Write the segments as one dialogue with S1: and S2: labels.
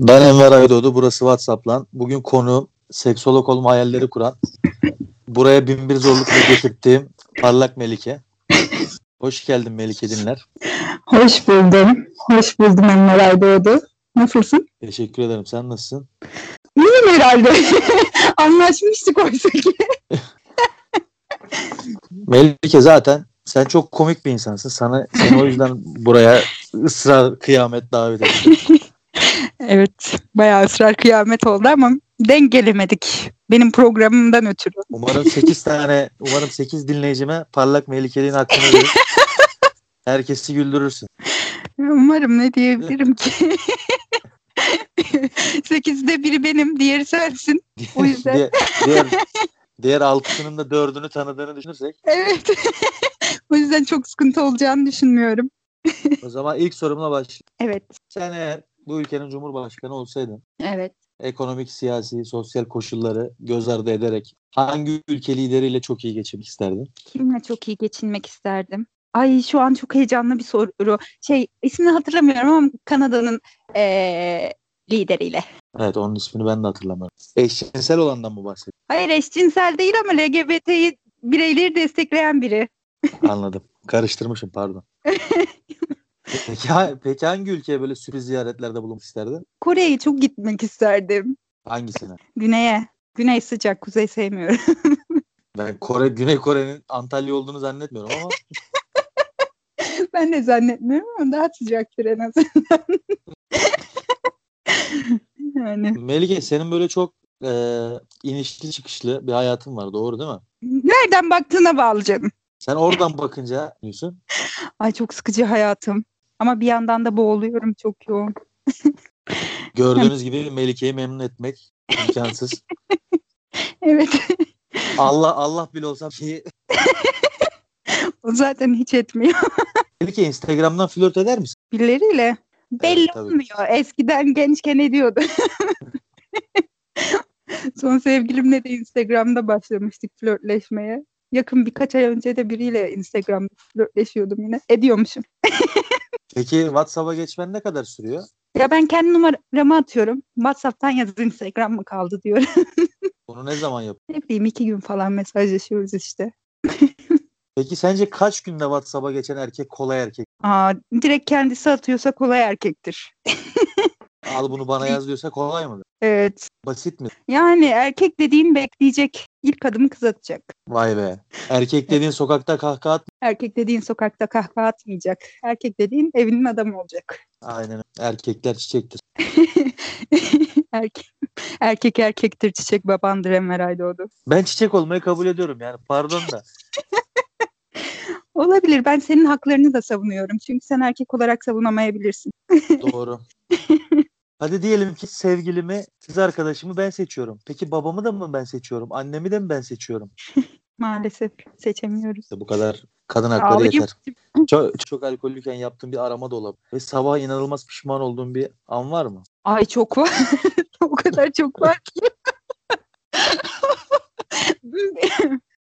S1: Ben Enver Aydoğdu. Burası WhatsApp'lan. Bugün konu seksolog olma hayalleri kuran, buraya bin bir zorlukla getirttiğim parlak Melike. Hoş geldin Melike dinler.
S2: Hoş buldum. Hoş buldum Enver Aydoğdu. Nasılsın?
S1: Teşekkür ederim. Sen nasılsın?
S2: İyiyim herhalde. Anlaşmıştık oysa ki.
S1: Melike zaten sen çok komik bir insansın. Sana seni o yüzden buraya ısrar kıyamet davet ettim.
S2: Evet. Bayağı ısrar kıyamet oldu ama denk gelemedik. Benim programımdan ötürü.
S1: Umarım 8 tane, umarım 8 dinleyicime parlak Melike'nin hakkını verir. Herkesi güldürürsün.
S2: Umarım ne diyebilirim ki. Sekizde biri benim, diğeri sensin. O yüzden-
S1: diğer, diğer, diğer altısının da dördünü tanıdığını düşünürsek
S2: Evet. o yüzden çok sıkıntı olacağını düşünmüyorum.
S1: O zaman ilk sorumla başlayayım.
S2: Evet.
S1: Sen eğer bu ülkenin cumhurbaşkanı olsaydın
S2: Evet.
S1: ekonomik, siyasi, sosyal koşulları göz ardı ederek hangi ülke lideriyle çok iyi geçirmek isterdin?
S2: Kimle çok iyi geçinmek isterdim? Ay şu an çok heyecanlı bir soru. Şey ismini hatırlamıyorum ama Kanada'nın eee, lideriyle.
S1: Evet onun ismini ben de hatırlamıyorum. Eşcinsel olandan mı bahsediyorsun?
S2: Hayır eşcinsel değil ama LGBT'yi bireyleri destekleyen biri.
S1: Anladım. Karıştırmışım pardon. peki, ha- peki hangi ülkeye böyle sürpriz ziyaretlerde bulunmak isterdin?
S2: Kore'ye çok gitmek isterdim.
S1: Hangisine?
S2: Güney'e. Güney sıcak, kuzey sevmiyorum.
S1: Ben Kore, Güney Kore'nin Antalya olduğunu zannetmiyorum ama
S2: ben de zannetmiyorum ama daha sıcaktır en azından. yani
S1: Melike senin böyle çok e, inişli çıkışlı bir hayatın var doğru değil mi?
S2: nereden baktığına bağlı canım.
S1: Sen oradan bakınca diyorsun.
S2: Ay çok sıkıcı hayatım. Ama bir yandan da boğuluyorum çok yoğun.
S1: Gördüğünüz gibi Melike'yi memnun etmek imkansız.
S2: Evet.
S1: Allah Allah bile olsa ki
S2: O zaten hiç etmiyor.
S1: Melike Instagram'dan flört eder misin?
S2: Birileriyle. Belli
S1: tabii.
S2: olmuyor. Eskiden gençken ediyordu. Son sevgilimle de Instagram'da başlamıştık flörtleşmeye. Yakın birkaç ay önce de biriyle Instagram'da flörtleşiyordum yine. Ediyormuşum.
S1: Peki WhatsApp'a geçmen ne kadar sürüyor?
S2: Ya ben kendi numaramı atıyorum. WhatsApp'tan yaz Instagram mı kaldı diyorum.
S1: Bunu ne zaman yap?
S2: ne bileyim iki gün falan mesajlaşıyoruz işte.
S1: Peki sence kaç günde WhatsApp'a geçen erkek kolay erkek?
S2: Aa, direkt kendisi atıyorsa kolay erkektir.
S1: Al bunu bana yaz diyorsa kolay mıdır?
S2: Evet.
S1: Basit mi?
S2: Yani erkek dediğin bekleyecek. İlk adımı kız atacak.
S1: Vay be. Erkek dediğin sokakta kahkaha at.
S2: Erkek dediğin sokakta kahkaha atmayacak. Erkek dediğin evinin adamı olacak.
S1: Aynen öyle. Erkekler çiçektir.
S2: erkek, erkek erkektir çiçek babandır Enver Aydoğdu.
S1: Ben çiçek olmayı kabul ediyorum yani pardon da.
S2: Olabilir ben senin haklarını da savunuyorum. Çünkü sen erkek olarak savunamayabilirsin.
S1: Doğru. Hadi diyelim ki sevgilimi, kız arkadaşımı ben seçiyorum. Peki babamı da mı ben seçiyorum? Annemi de mi ben seçiyorum?
S2: Maalesef seçemiyoruz.
S1: İşte bu kadar kadın hakları
S2: Ağlayıp
S1: yeter. Çok, çok alkollüyken yaptığım bir arama dolabı ve sabah inanılmaz pişman olduğum bir an var mı?
S2: Ay çok var. o kadar çok var ki.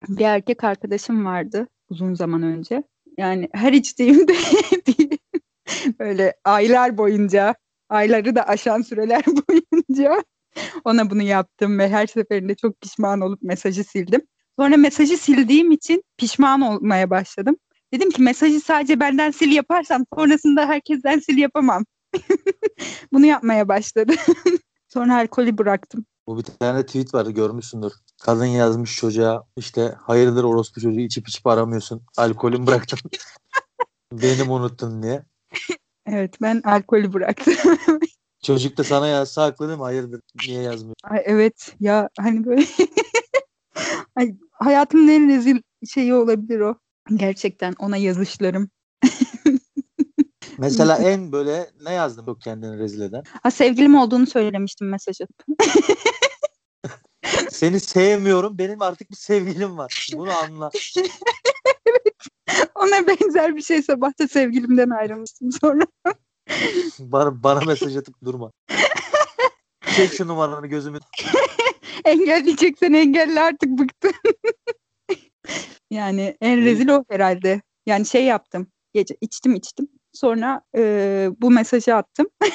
S2: bir erkek arkadaşım vardı uzun zaman önce. Yani her içtiğimde bir- böyle aylar boyunca, ayları da aşan süreler boyunca ona bunu yaptım ve her seferinde çok pişman olup mesajı sildim. Sonra mesajı sildiğim için pişman olmaya başladım. Dedim ki mesajı sadece benden sil yaparsam sonrasında herkesten sil yapamam. Bunu yapmaya başladı. Sonra alkolü bıraktım.
S1: Bu bir tane tweet var görmüşsündür. Kadın yazmış çocuğa işte hayırdır orospu çocuğu içip içip aramıyorsun. Alkolün bıraktın. Beni mi unuttun diye.
S2: Evet ben alkolü bıraktım.
S1: Çocuk da sana yazsa haklı değil mi? Hayırdır niye yazmıyor?
S2: Ay, evet ya hani böyle Ay, hayatımın en rezil şeyi olabilir o. Gerçekten ona yazışlarım.
S1: Mesela en böyle ne yazdım çok kendini rezil eden?
S2: Ha, sevgilim olduğunu söylemiştim mesajı.
S1: Seni sevmiyorum. Benim artık bir sevgilim var. Bunu anla.
S2: Ona benzer bir şey sabah da sevgilimden ayrılmıştım sonra.
S1: Bana, bana mesaj atıp durma. Çek şu numaranı gözümün.
S2: Engelleyeceksen engelle artık bıktım. yani en rezil o herhalde. Yani şey yaptım. Gece içtim içtim. Sonra e, bu mesajı attım.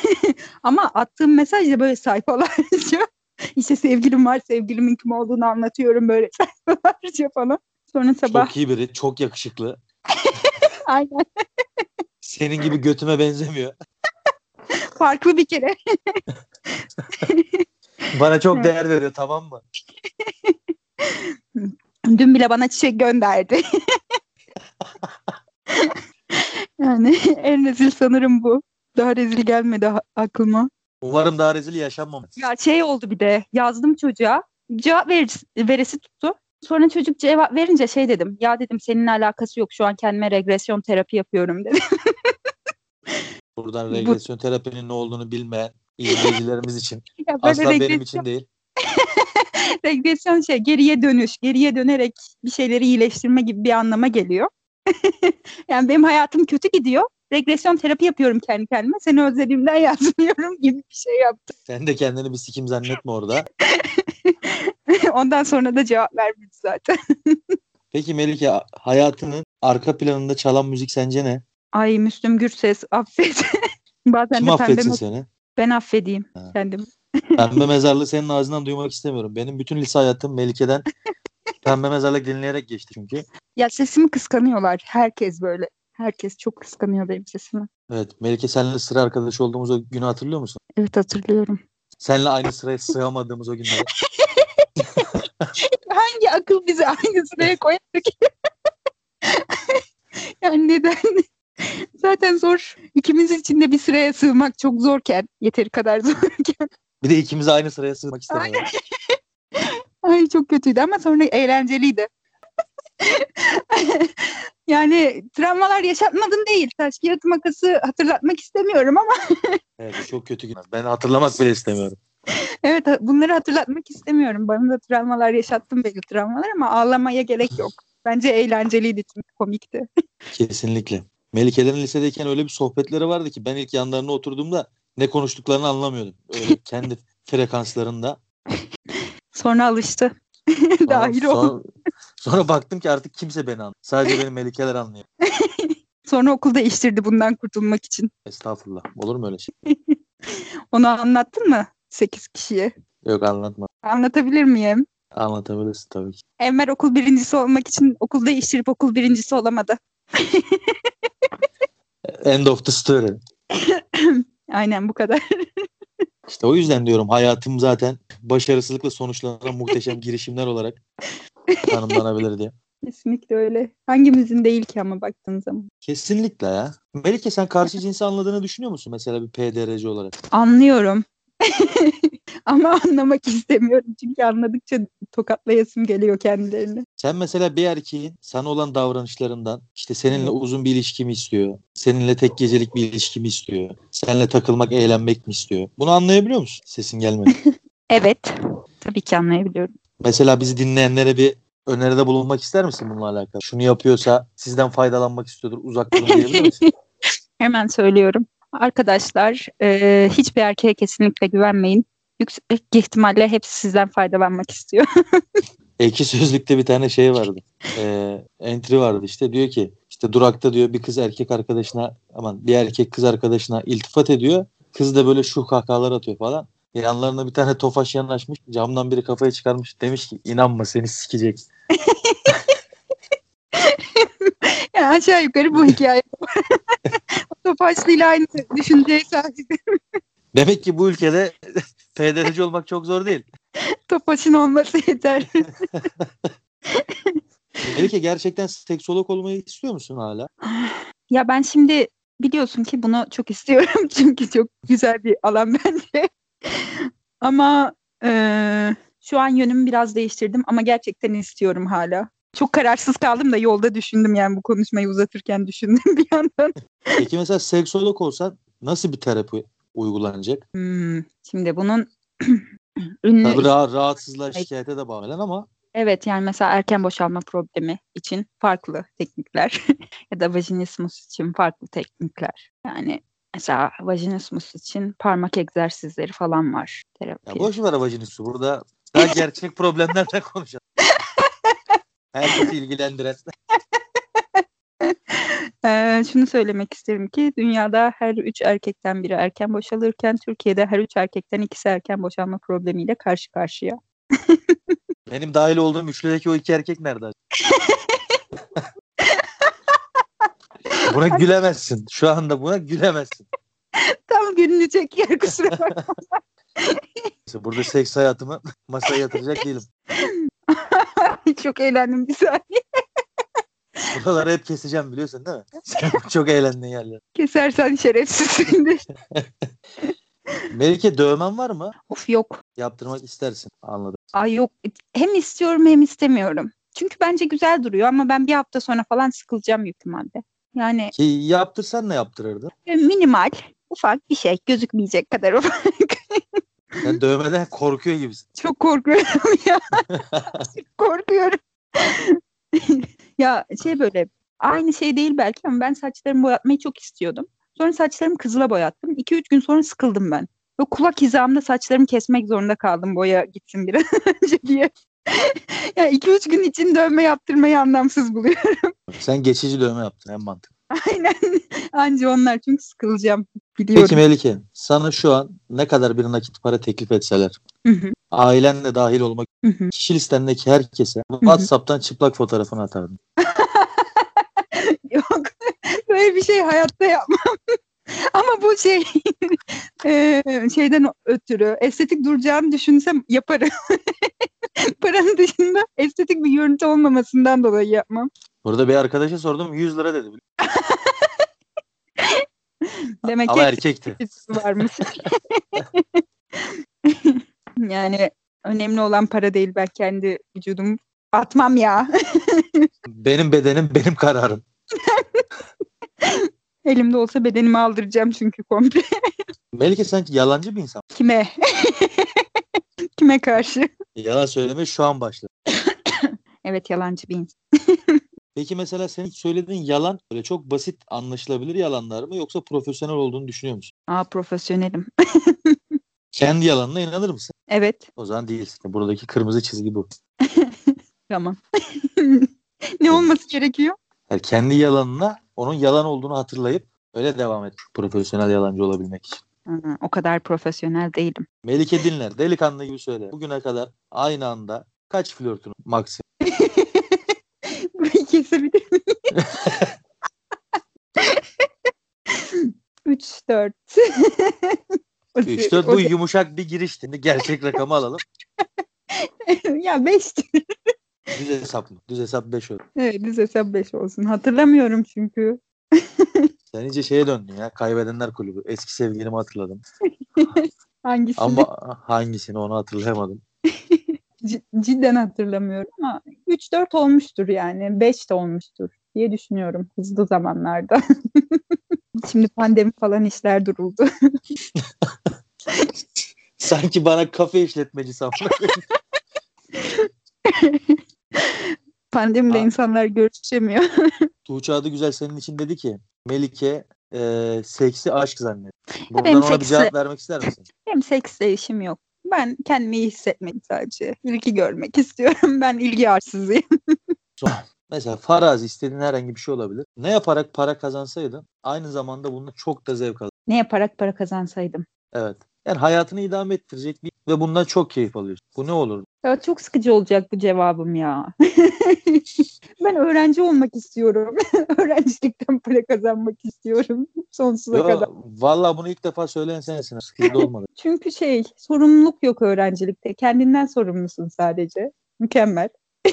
S2: Ama attığım mesaj da böyle sayfalarca işte sevgilim var sevgilimin kim olduğunu anlatıyorum böyle sayfalarca falan. Sonra sabah
S1: Çok iyi biri, çok yakışıklı.
S2: aynen
S1: Senin gibi götüme benzemiyor.
S2: farklı bir kere
S1: Bana çok
S2: Evet.
S1: değer veriyor tamam mı?
S2: Dün bile bana çiçek gönderdi. yani en rezil sanırım bu. Daha rezil gelmedi ha- aklıma.
S1: Umarım daha rezil yaşanmam.
S2: Ya şey oldu bir de yazdım çocuğa. Cevap verisi, veresi tuttu. Sonra çocuk cevap verince şey dedim. Ya dedim seninle alakası yok şu an kendime regresyon terapi yapıyorum dedim.
S1: Buradan
S2: Bu-
S1: regresyon terapinin ne olduğunu bilmeyen izleyicilerimiz için.
S2: Ya böyle
S1: Asla benim
S2: regres-
S1: için değil.
S2: regresyon şey geriye dönüş, geriye dönerek bir şeyleri iyileştirme gibi bir anlama geliyor. yani benim hayatım kötü gidiyor. Regresyon terapi yapıyorum kendi kendime. Seni özlediğimden yazmıyorum gibi bir şey yaptım.
S1: Sen de kendini bir sikim zannetme orada.
S2: Ondan sonra da cevap vermedi zaten.
S1: Peki Melike hayatının arka planında çalan müzik sence ne?
S2: Ay Müslüm Gürses affet. Bazen
S1: Kim
S2: de pembe
S1: affetsin
S2: mes-
S1: seni?
S2: ben affedeyim
S1: Ha.
S2: kendim.
S1: Pembe mezarlığı senin ağzından duymak istemiyorum. Benim bütün lise hayatım Melike'den pembe mezarlık dinleyerek geçti çünkü.
S2: Ya sesimi kıskanıyorlar. Herkes böyle. Herkes çok kıskanıyor benim sesimi.
S1: Evet Melike seninle sıra arkadaşı olduğumuz o günü hatırlıyor musun?
S2: Evet hatırlıyorum.
S1: Seninle aynı sıraya sığamadığımız o günleri.
S2: Hangi akıl bizi aynı sıraya koyar ki? yani neden? Zaten zor. İkimiz için de bir sıraya sığmak çok zorken, yeteri kadar zorken.
S1: Bir de ikimiz aynı sıraya sığmak istemiyorum.
S2: Ay çok kötüydü ama sonra eğlenceliydi. yani travmalar yaşatmadım değil. Taş kağıt makası hatırlatmak istemiyorum ama
S1: Evet çok kötü günler. Ben hatırlamak bile istemiyorum.
S2: evet ha- bunları hatırlatmak istemiyorum. Bana da travmalar yaşattım belli travmalar ama ağlamaya gerek yok. Bence eğlenceliydi çünkü komikti.
S1: Kesinlikle. Melike'lerin lisedeyken öyle bir sohbetleri vardı ki ben ilk yanlarına oturduğumda ne konuştuklarını anlamıyordum. Öyle kendi frekanslarında.
S2: Sonra alıştı. Dahil
S1: sonra,
S2: oldu.
S1: sonra, sonra baktım ki artık kimse beni anlıyor. Sadece beni Melike'ler anlıyor.
S2: Sonra okul değiştirdi bundan kurtulmak için.
S1: Estağfurullah. Olur mu öyle şey?
S2: Onu anlattın mı 8 kişiye?
S1: Yok anlatma.
S2: Anlatabilir miyim?
S1: Anlatabilirsin tabii ki.
S2: Enver okul birincisi olmak için okul değiştirip okul birincisi olamadı.
S1: End of the story.
S2: Aynen bu kadar.
S1: İşte o yüzden diyorum hayatım zaten başarısızlıkla sonuçlanan muhteşem girişimler olarak tanımlanabilir diye.
S2: Kesinlikle öyle. Hangimizin değil ki ama baktığın zaman.
S1: Kesinlikle ya. Melike sen karşı cinsi anladığını düşünüyor musun mesela bir PDRC olarak?
S2: Anlıyorum. ama anlamak istemiyorum. Çünkü anladıkça tokatlayasım geliyor kendilerini.
S1: Sen mesela bir erkeğin sana olan davranışlarından işte seninle uzun bir ilişki mi istiyor? Seninle tek gecelik bir ilişki mi istiyor? Seninle takılmak, eğlenmek mi istiyor? Bunu anlayabiliyor musun? Sesin gelmedi.
S2: Evet. Tabii ki anlayabiliyorum.
S1: mesela bizi dinleyenlere bir öneride bulunmak ister misin bununla alakalı? Şunu yapıyorsa sizden faydalanmak istiyordur. Uzak durun diyebilir misin?
S2: Hemen söylüyorum. Arkadaşlar e, hiçbir erkeğe kesinlikle güvenmeyin. Yüksek ihtimalle hepsi sizden faydalanmak istiyor.
S1: Ekşi Sözlük'te bir tane şey vardı. Ee, entry vardı işte. Diyor ki işte durakta diyor bir kız erkek arkadaşına aman bir erkek kız arkadaşına iltifat ediyor. Kız da böyle şu kahkahalar atıyor falan. Yanlarına bir tane tofaş yanaşmış. Camdan biri kafayı çıkarmış. Demiş ki inanma seni sikecek.
S2: Yani aşağı yukarı bu hikaye. Topaçlı'yla aynı düşünceye sahip.
S1: Demek ki bu ülkede PDRC olmak çok zor değil.
S2: Topaç'ın olması yeter.
S1: Melike gerçekten seksolog olmayı istiyor musun hala?
S2: ya ben şimdi biliyorsun ki bunu çok istiyorum. Çünkü çok güzel bir alan bence. ama eee, şu an yönümü biraz değiştirdim ama gerçekten istiyorum hala. Çok kararsız kaldım da yolda düşündüm yani bu konuşmayı uzatırken düşündüm bir yandan.
S1: Peki mesela seksolog olsan nasıl bir terapi uygulanacak?
S2: Hmm, şimdi bunun ünlü
S1: Tabii ra- rahatsızlığa şikayete de bağlı ama
S2: Evet yani mesela erken boşalma problemi için farklı teknikler ya da vajinismus için farklı teknikler. Yani mesela vajinismus için parmak egzersizleri falan var
S1: Ya
S2: terapi.
S1: boş ver avacını su. Burada daha gerçek problemlerden konuşalım. Herkesi ilgilendiren.
S2: Ee, şunu söylemek isterim ki dünyada her üç erkekten biri erken boşalırken Türkiye'de her üç erkekten ikisi erken boşanma problemiyle karşı karşıya.
S1: Benim dahil olduğum üçlüdeki o iki erkek nerede? buna gülemezsin. Şu anda buna gülemezsin.
S2: Tam gülünecek yer kusura bakma.
S1: Neyse, Burada seks hayatımı masaya yatıracak değilim.
S2: Çok eğlendim bir saniye.
S1: Buraları hep keseceğim biliyorsun değil mi? Sen çok eğlendin yerler.
S2: Kesersen şerefsizsin de.
S1: Melike dövmen var mı?
S2: Of yok.
S1: Yaptırmak istersin. Anladım.
S2: Ay yok. e, Hem istiyorum hem istemiyorum. Çünkü bence güzel duruyor ama ben bir hafta sonra falan sıkılacağım büyük ihtimalle. Yani
S1: Ki yaptırsan ne yaptırırdın?
S2: e, minimal, ufak bir şey. Gözükmeyecek kadar ufak.
S1: Sen dövmeden korkuyor gibisin.
S2: Çok korkuyorum ya. Çok korkuyorum. ya şey böyle aynı şey değil belki ama ben saçlarımı boyatmayı çok istiyordum. Sonra saçlarımı kızıla boyattım. 2-3 gün sonra sıkıldım ben. Ve kulak hizamda saçlarımı kesmek zorunda kaldım boya gitsin biraz önce diye. ya 2-3 gün için dövme yaptırmayı anlamsız buluyorum.
S1: Sen geçici dövme yaptın en mantıklı.
S2: Aynen. Anca onlar çünkü sıkılacağım.
S1: Peki
S2: Biliyorum.
S1: Melike sana şu an ne kadar bir nakit para teklif etseler
S2: Hı hı,
S1: ailen de dahil olmak
S2: hı hı.
S1: kişi listendeki herkese WhatsApp'tan çıplak fotoğrafını atardın.
S2: Yok. Böyle bir şey hayatta yapmam. Ama bu şey eee, şeyden ötürü estetik duracağını düşünsem yaparım. Paranın dışında estetik bir görüntü olmamasından dolayı yapmam.
S1: Burada bir arkadaşa sordum 100 lira dedi.
S2: Demek
S1: Ama
S2: ki
S1: erkekti.
S2: estetik varmış. yani önemli olan para değil ben kendi vücudumu atmam ya.
S1: Benim bedenim benim kararım.
S2: Elimde olsa bedenimi aldıracağım çünkü komple.
S1: Melike sanki yalancı bir insan.
S2: Kime? Kime karşı?
S1: Yalan söylemeye şu an başladı.
S2: Evet yalancı bir insan.
S1: Peki mesela senin söylediğin yalan böyle çok basit anlaşılabilir yalanlar mı yoksa profesyonel olduğunu düşünüyor musun?
S2: Aa profesyonelim.
S1: Kendi yalanına inanır mısın?
S2: Evet.
S1: O zaman değilsin. Buradaki kırmızı çizgi bu.
S2: Tamam. ne olması gerekiyor?
S1: Yani kendi yalanına onun yalan olduğunu hatırlayıp öyle devam et. Profesyonel yalancı olabilmek için.
S2: Hı, o kadar profesyonel değilim.
S1: Melike dinler. Delikanlı gibi söyle. Bugüne kadar aynı anda kaç flörtün maksimum?
S2: Burayı kesebilir miyim? 3 4
S1: 3 4 bu yumuşak bir giriş. Şimdi gerçek rakamı alalım.
S2: ya 5
S1: Düz hesap mı? Düz hesap 5 olur.
S2: evet düz hesap 5 olsun hatırlamıyorum çünkü
S1: Sen iyice şeye döndün ya. Kaybedenler kulübü. Eski sevgilimi hatırladım.
S2: hangisi
S1: Ama hangisini onu hatırlayamadım.
S2: cidden hatırlamıyorum ama 3 4 olmuştur yani 5 de olmuştur diye düşünüyorum hızlı zamanlarda. Şimdi pandemi falan işler duruldu.
S1: Sanki bana kafe işletmeci sanmış.
S2: Pandemide
S1: Aa.
S2: insanlar görüşemiyor.
S1: Tuğçe adı güzel senin için dedi ki Melike e, seksi aşk zannet. Buradan
S2: benim
S1: ona bir
S2: seksi-
S1: cevap vermek ister misin?
S2: Hem seksle işim yok. Ben kendimi iyi hissetmek sadece. İlgi görmek istiyorum. Ben ilgi arsızıyım.
S1: Mesela farazi istediğin herhangi bir şey olabilir. Ne yaparak para kazansaydın aynı zamanda bununla çok da zevk alırdın.
S2: Ne yaparak para kazansaydım?
S1: Evet. Yani hayatını idame ettirecek bir ve bundan çok keyif alıyorsun. Bu ne olur?
S2: Ya çok sıkıcı olacak bu cevabım ya. ben öğrenci olmak istiyorum. Öğrencilikten para kazanmak istiyorum. Sonsuza
S1: Yo,
S2: kadar.
S1: Valla bunu ilk defa söyleyen sensin. Sıkıcı da olmadı.
S2: Çünkü şey sorumluluk yok öğrencilikte. Kendinden sorumlusun sadece. Mükemmel.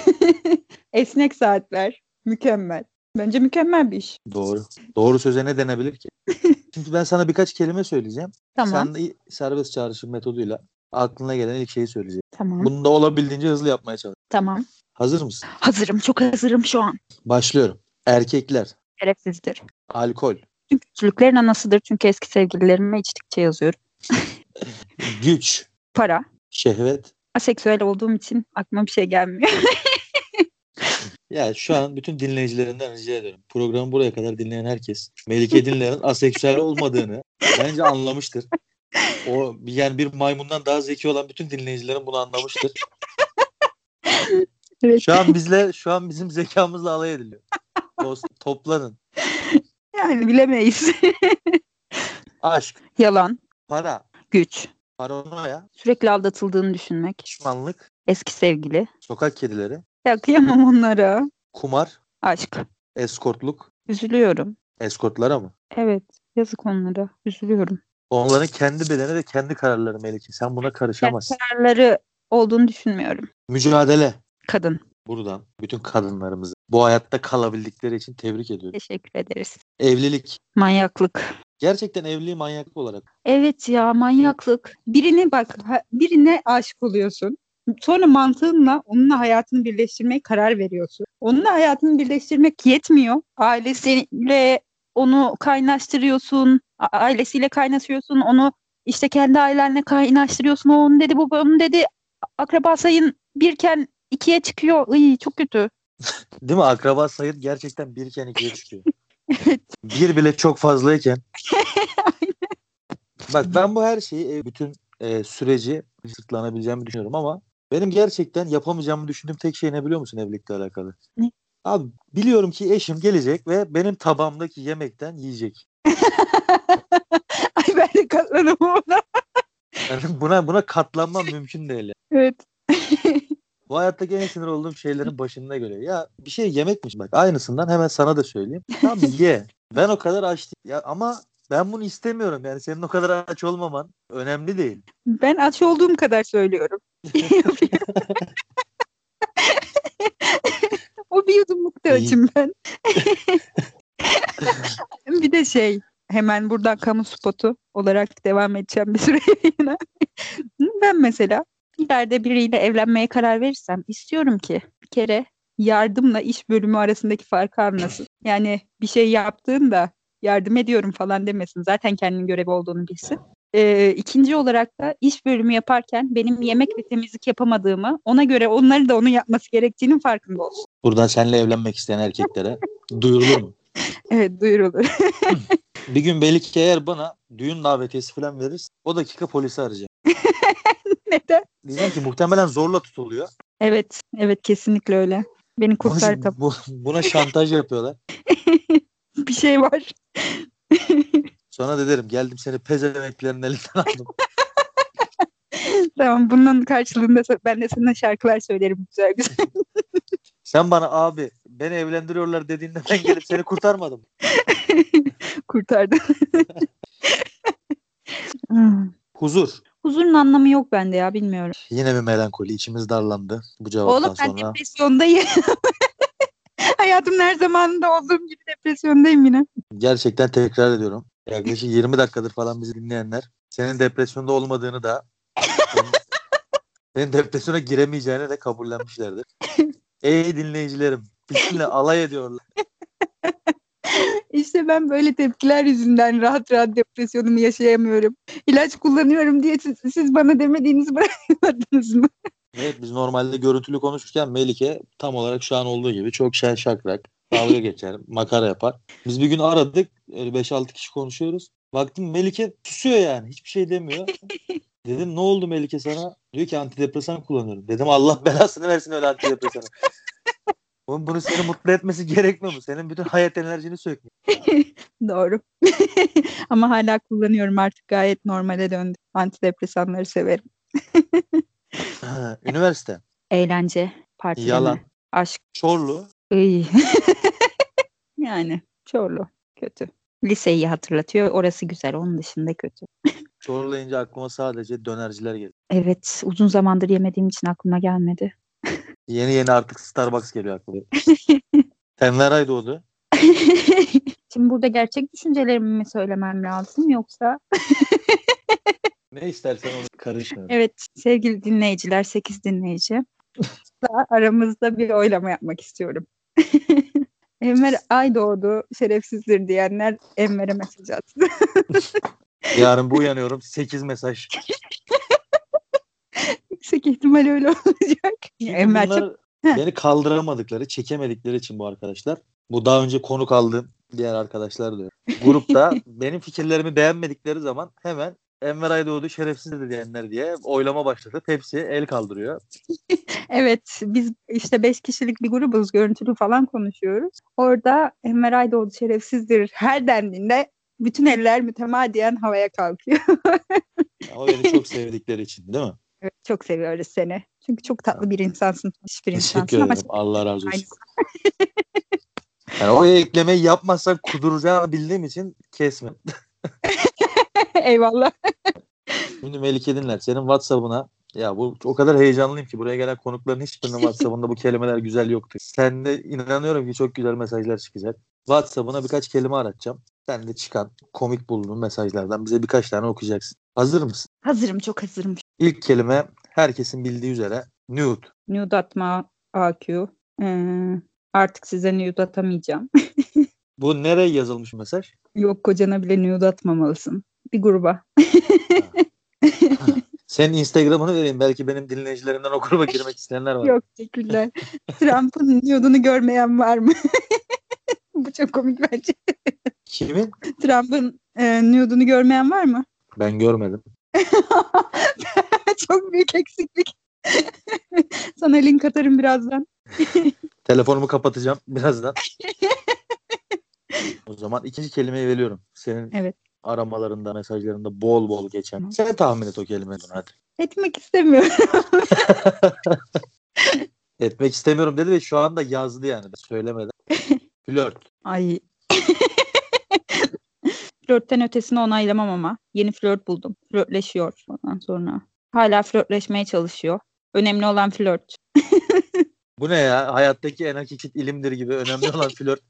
S2: Esnek saatler. Mükemmel. Bence mükemmel bir iş.
S1: Doğru. Doğru söze ne denebilir ki? Şimdi ben sana birkaç kelime söyleyeceğim.
S2: Tamam.
S1: Sen de serbest çağrışım metoduyla aklına gelen ilk şeyi söyleyeceksin.
S2: Tamam.
S1: Bunu da olabildiğince hızlı yapmaya çalış.
S2: Tamam.
S1: Hazır mısın?
S2: Hazırım. Çok hazırım şu an.
S1: Başlıyorum. Erkekler,
S2: Şerefsizdir.
S1: alkol,
S2: Çünkü küçülüklerin anasıdır. Çünkü eski sevgililerime içtikçe yazıyorum.
S1: güç,
S2: Para.
S1: şehvet.
S2: Aseksüel olduğum için aklıma bir şey gelmiyor.
S1: Ya şu an bütün dinleyicilerinden rica ediyorum. Programı buraya kadar dinleyen herkes Melike Dinler'in aseksüel olmadığını bence anlamıştır. O yani bir maymundan daha zeki olan bütün dinleyicilerin bunu anlamıştır.
S2: Evet.
S1: Şu an bizle şu an bizim zekamızla alay ediliyor. Dost, toplanın.
S2: Yani bilemeyiz.
S1: Aşk,
S2: Yalan,
S1: para,
S2: güç,
S1: paranoya,
S2: sürekli aldatıldığını düşünmek,
S1: düşmanlık,
S2: eski sevgili.
S1: sokak kedileri,
S2: Ya kıyamam onlara.
S1: kumar,
S2: Aşk.
S1: eskortluk,
S2: Üzülüyorum.
S1: eskortlara mı?
S2: Evet. Yazık onlara. Üzülüyorum.
S1: Onların kendi bedeni ve kendi kararları Melike. Sen buna karışamazsın.
S2: Kararları olduğunu düşünmüyorum.
S1: Mücadele.
S2: Kadın.
S1: Buradan bütün kadınlarımızı bu hayatta kalabildikleri için tebrik ediyorum.
S2: Teşekkür ederiz.
S1: Evlilik.
S2: Manyaklık.
S1: Gerçekten evliliği manyaklık olarak.
S2: Evet ya manyaklık. Birine bak, ha- birine aşık oluyorsun. Sonra mantığınla onunla hayatını birleştirmeye karar veriyorsun. Onunla hayatını birleştirmek yetmiyor. Ailesiyle onu kaynaştırıyorsun. a- Ailesiyle kaynaşıyorsun. Onu işte kendi ailenle kaynaştırıyorsun. O onun dedi, bu onun dedi. Akraba sayın birken ikiye çıkıyor. Iy, çok kötü.
S1: Değil mi? Akraba sayın gerçekten birken ikiye çıkıyor. Bir bile çok fazlayken. Bak ben bu her şeyi e, bütün e, süreci sırtlanabileceğimi düşünüyorum ama benim gerçekten yapamayacağımı düşündüğüm tek şey ne biliyor musun evlilikle alakalı?
S2: Ne?
S1: Abi biliyorum ki eşim gelecek ve benim tabağımdaki yemekten yiyecek.
S2: Ay ben de katlanamam ona.
S1: Yani buna buna katlanmam mümkün değil.
S2: Evet.
S1: Bu hayattaki en sinir olduğum şeylerin başında geliyor. Ya bir şey yemekmiş bak aynısından hemen sana da söyleyeyim. Tamam ye. Ben o kadar aç değil. Ya ama ben bunu istemiyorum. Yani senin o kadar aç olmaman önemli değil.
S2: Ben aç olduğum kadar söylüyorum. o bir yudumluk da
S1: İyi.
S2: açım ben. bir de şey hemen buradan kamu spotu olarak devam edeceğim bir süre yine. ben mesela ileride biriyle evlenmeye karar verirsem istiyorum ki bir kere yardımla iş bölümü arasındaki farkı anlasın. Yani bir şey yaptığında yardım ediyorum falan demesin. Zaten kendinin görevi olduğunu bilsin. Ee, ikinci olarak da iş bölümü yaparken benim yemek ve temizlik yapamadığımı ona göre onların da onu yapması gerektiğinin farkında olsun.
S1: Buradan seninle evlenmek isteyen erkeklere duyurulur mu?
S2: Evet duyurulur.
S1: Bir gün belki eğer bana düğün davetiyesi falan verirse o dakika polisi arayacağım.
S2: Neden?
S1: Diyeceğim ki muhtemelen zorla tutuluyor.
S2: Evet, evet kesinlikle öyle. Beni kurtar tabii.
S1: Bu, buna şantaj yapıyorlar.
S2: Bir şey var.
S1: Sonra da derim geldim seni pezeveklerin elinden aldım.
S2: tamam bunun karşılığında sa- ben de sana şarkılar söylerim güzel güzel.
S1: Sen bana abi beni evlendiriyorlar dediğinde ben gelip seni kurtarmadım.
S2: Kurtardım. Hmm.
S1: Huzur.
S2: Huzurun anlamı yok bende ya bilmiyorum.
S1: Yine bir melankoli. içimiz darlandı bu cevaptan
S2: Oğlum ben
S1: sonra.
S2: depresyondayım. Hayatımın her zamanında olduğum gibi depresyondayım yine.
S1: Gerçekten tekrar ediyorum. Yaklaşık 20 dakikadır falan bizi dinleyenler senin depresyonda olmadığını da senin- senin depresyona giremeyeceğini de kabullenmişlerdir. Ey dinleyicilerim bizimle alay ediyorlar.
S2: İşte ben böyle tepkiler yüzünden rahat rahat depresyonumu yaşayamıyorum. İlaç kullanıyorum diye siz, siz bana demediğinizi bırakmadınız mı?
S1: Evet biz normalde görüntülü konuşurken Melike tam olarak şu an olduğu gibi çok şen şakrak dalga geçer, makara yapar. Biz bir gün aradık öyle 5-6 kişi konuşuyoruz. Baktım Melike susuyor yani hiçbir şey demiyor. Dedim ne oldu Melike sana? Diyor ki antidepresan kullanıyorum. Dedim Allah belasını versin öyle antidepresanı. Oğlum bunu seni mutlu etmesi gerekmiyor mu? Senin bütün hayat enerjini sökmüyor.
S2: Doğru. Ama hala kullanıyorum artık gayet normale döndü. Antidepresanları severim.
S1: Üniversite,
S2: Eğlence, parti,
S1: yalan,
S2: aşk.
S1: çorlu,
S2: Iy. yani çorlu kötü. Liseyi hatırlatıyor. Orası güzel. Onun dışında kötü.
S1: çorlayınca aklıma sadece dönerciler geliyor.
S2: Evet, uzun zamandır yemediğim için aklıma gelmedi.
S1: Yeni yeni artık Starbucks geliyor aklıma. Enver Ay doğdu.
S2: Şimdi burada gerçek düşüncelerimi mi söylemem lazım yoksa
S1: Ne istersen onu karışmıyorum.
S2: Evet sevgili dinleyiciler 8 dinleyici. Daha aramızda bir oylama yapmak istiyorum. Enver ay doğdu şerefsizdir diyenler Enver'e mesaj atsın.
S1: Yarın bu uyanıyorum 8 mesaj.
S2: Yüksek ihtimal öyle olacak. Enver çok
S1: Bunlar beni kaldıramadıkları, çekemedikleri için bu arkadaşlar. Bu daha önce konuk aldığım diğer arkadaşlar diyor. Grupta benim fikirlerimi beğenmedikleri zaman hemen Enver Aydoğdu şerefsiz de diyenler diye oylama başlatıp hepsi el kaldırıyor.
S2: Evet biz işte beş kişilik bir grubuz görüntülü falan konuşuyoruz. Orada Enver Aydoğdu şerefsizdir her dendiğinde bütün eller mütemadiyen havaya kalkıyor.
S1: Ama beni çok sevdikleri için değil mi?
S2: Evet, çok seviyoruz seni. Çünkü çok tatlı bir insansın. Müthiş bir
S1: Teşekkür
S2: insansın ama
S1: ederim. Allah razı olsun. Yani o eklemeyi yapmazsan kuduracağını bildiğim için kesme.
S2: eyvallah.
S1: Şimdi Melike dinler. Senin WhatsApp'ına ya bu o kadar heyecanlıyım ki buraya gelen konukların hiçbirinin WhatsApp'ında bu kelimeler güzel yoktu. Sen de inanıyorum ki çok güzel mesajlar çıkacak. WhatsApp'ına birkaç kelime aratacağım. Sen de çıkan komik bulduğun mesajlardan bize birkaç tane okuyacaksın. Hazır mısın?
S2: Hazırım çok hazırım.
S1: İlk kelime herkesin bildiği üzere nude.
S2: Nude atma AQ. Ee, artık size nude atamayacağım.
S1: Bu nereye yazılmış mesaj?
S2: Yok kocana bile nude atmamalısın. Bir gruba.
S1: Senin Instagram'ını vereyim. Belki benim dinleyicilerimden o gruba girmek isteyenler var.
S2: Yok teşekkürler. Trump'ın nude'unu görmeyen var mı? Bu çok komik bence.
S1: Kimin?
S2: Trump'ın e, nude'unu görmeyen var mı?
S1: Ben görmedim.
S2: çok büyük eksiklik. Sana link atarım birazdan.
S1: Telefonumu kapatacağım birazdan. o zaman ikinci kelimeyi veriyorum. Senin
S2: Evet.
S1: aramalarında, mesajlarında bol bol geçen.
S2: Tamam.
S1: Sen tahmin et o kelimeyi hadi.
S2: Etmek istemiyorum.
S1: Etmek istemiyorum dedi ve şu anda yazdı yani söylemeden. Flört.
S2: Ay. Flörtten ötesini onaylamam ama. Yeni flört buldum. Flörtleşiyor ondan sonra. Hala flörtleşmeye çalışıyor. Önemli olan flört.
S1: Bu ne ya? Hayattaki en hakiki ilimdir gibi önemli olan flört.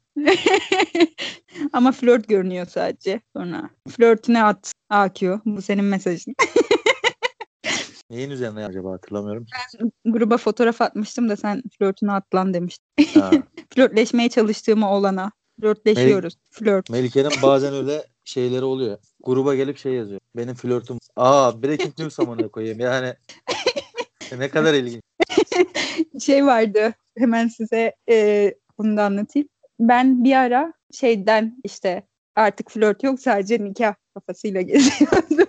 S2: ama flört görünüyor sadece. Sonra flörtüne at AQ. Bu senin mesajın.
S1: Neyin üzerine acaba hatırlamıyorum. ki.
S2: Gruba fotoğraf atmıştım da sen flörtüne atlan demiştin.
S1: Ha.
S2: Flörtleşmeye çalıştığımı olana. Flörtleşiyoruz. Flört.
S1: Melike'nin bazen öyle şeyleri oluyor. Gruba gelip şey yazıyor. Benim flörtüm. Aa Breaking News amına koyayım. Yani ne kadar ilginç.
S2: şey vardı hemen size e, bunu da anlatayım. Ben bir ara şeyden işte artık flört yok sadece nikah kafasıyla geziyordum.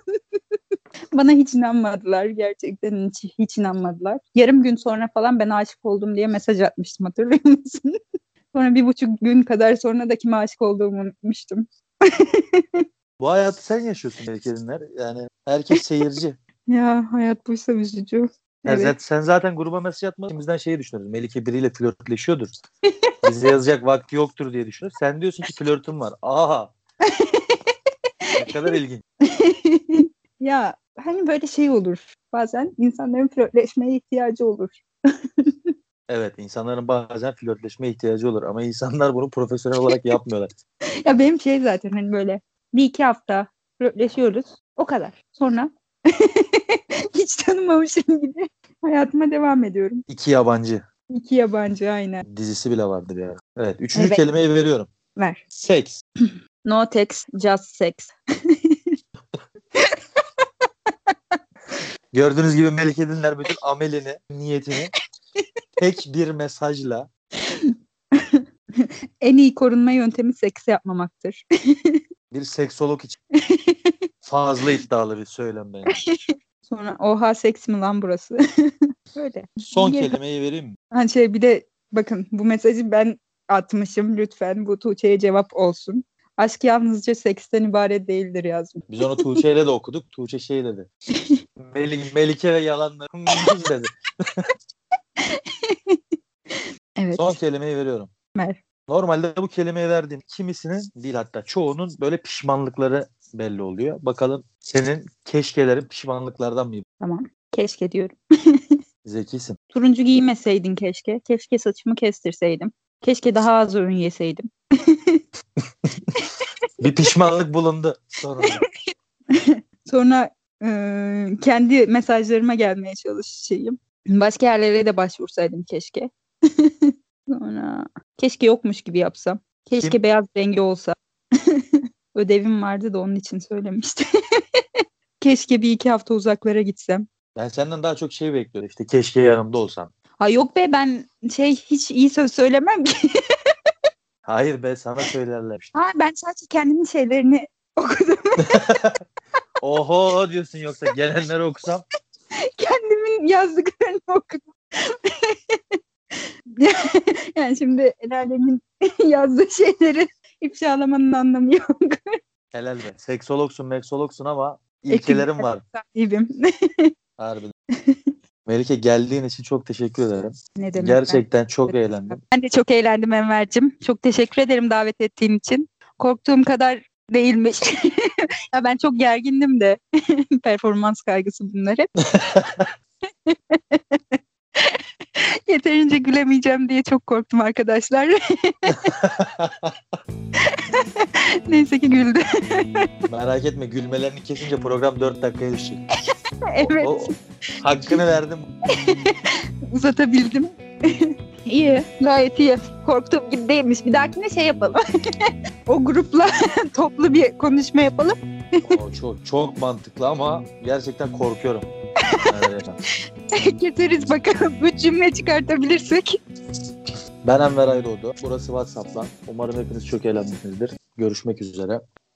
S2: Bana hiç inanmadılar gerçekten hiç, hiç inanmadılar. Yarım gün sonra falan ben aşık oldum diye mesaj atmıştım hatırlıyor musun? sonra bir buçuk gün kadar sonra da kime aşık olduğumu unutmuştum.
S1: Bu hayatı sen yaşıyorsun Melike'ninler. Yani herkes seyirci.
S2: Ya hayat buysa üzücü.
S1: Yani
S2: Evet.
S1: zaten- sen zaten gruba mesaj atma. İkimizden şeyi düşünürüz. Melike biriyle flörtleşiyordur. Bize yazacak vakti yoktur diye düşünür. Sen diyorsun ki flörtüm var. Aa. ne kadar ilginç.
S2: ya hani böyle şey olur. Bazen insanların flörtleşmeye ihtiyacı olur.
S1: Evet insanların bazen flörtleşmeye ihtiyacı olur ama insanlar bunu profesyonel olarak yapmıyorlar.
S2: Ya benim şey zaten hani böyle bir iki hafta flörtleşiyoruz. O kadar. Sonra hiç tanımamışım gibi hayatıma devam ediyorum.
S1: İki yabancı.
S2: İki yabancı aynen.
S1: dizisi bile vardı bir ara. Evet. Üçüncü
S2: Evet.
S1: kelimeyi veriyorum.
S2: Ver.
S1: Seks.
S2: No text, just sex.
S1: Gördüğünüz gibi Melike Dinler bütün amelini, niyetini tek bir mesajla
S2: En iyi korunma yöntemi seks yapmamaktır.
S1: bir seksolog için fazla iddialı bir söylem bence.
S2: Sonra oha seks mi lan burası? Böyle.
S1: Son
S2: Bir-
S1: kelimeyi vereyim mi?
S2: Hani şey bir de bakın bu mesajı ben atmışım lütfen bu Tuğçe'ye cevap olsun. Aşk yalnızca seksten ibaret değildir yazmış.
S1: Biz onu Tuğçe'yle de okuduk. Tuğçe şey dedi. Mel- Melike ve yalanların dedi.
S2: Evet.
S1: Son kelimeyi veriyorum.
S2: Ver.
S1: Normalde bu kelimeyi verdiğim kimisinin değil hatta çoğunun böyle pişmanlıkları belli oluyor. Bakalım senin keşkelerin pişmanlıklardan mı?
S2: Keşke diyorum.
S1: Zekisin.
S2: Turuncu giymeseydin keşke. Keşke saçımı kestirseydim. Keşke daha az ürün yeseydim.
S1: Bir pişmanlık bulundu sonra.
S2: Sonra eee, kendi mesajlarıma gelmeye çalışayım. Başka yerlere de başvursaydım keşke. Sonra keşke yokmuş gibi yapsam. Keşke
S1: Kim?
S2: beyaz rengi olsa. Ödevim vardı da onun için söylemiştim. keşke bir iki hafta uzaklara gitsem.
S1: Ben senden daha çok şey bekliyorum. İşte keşke yanımda olsan.
S2: Ha yok be ben şey hiç iyi söz söylemem ki.
S1: Hayır be sana söylerler işte.
S2: Ha ben sadece kendimin şeylerini okudum.
S1: Oho diyorsun yoksa gelenleri okusam
S2: Kendimin yazdıklarını okudum. yani şimdi el alemin yazdığı şeyleri ifşalamanın anlamı yok.
S1: Helal be. Seksologsun, meksologsun ama ilkelerin var.
S2: Sahibim.
S1: Harbiden. Melike geldiğin için çok teşekkür ederim.
S2: ne demek?
S1: Gerçekten çok eğlendim.
S2: Ben de çok eğlendim Enver'cim. Çok teşekkür ederim davet ettiğin için. Korktuğum kadar değilmiş. ya ben çok gergindim de. Performans kaygısı bunlar hep. Yeterince gülemeyeceğim diye çok korktum arkadaşlar. Neyse ki güldü.
S1: Merak etme gülmelerini kesince program 4 dakikaya düşecek.
S2: evet
S1: O- hakkını verdim.
S2: uzatabildim. iyi gayet iyi. Korktuğum gibi değilmiş. Bir dahakine şey yapalım. o grupla toplu bir konuşma yapalım.
S1: O çok çok mantıklı ama gerçekten korkuyorum. Yani
S2: Geteriz bakalım. Üç cümle çıkartabilirsek.
S1: ben Enver Aydoğdu. Burası WhatsApp'tan. Umarım hepiniz çok eğlenmişsinizdir. Görüşmek üzere.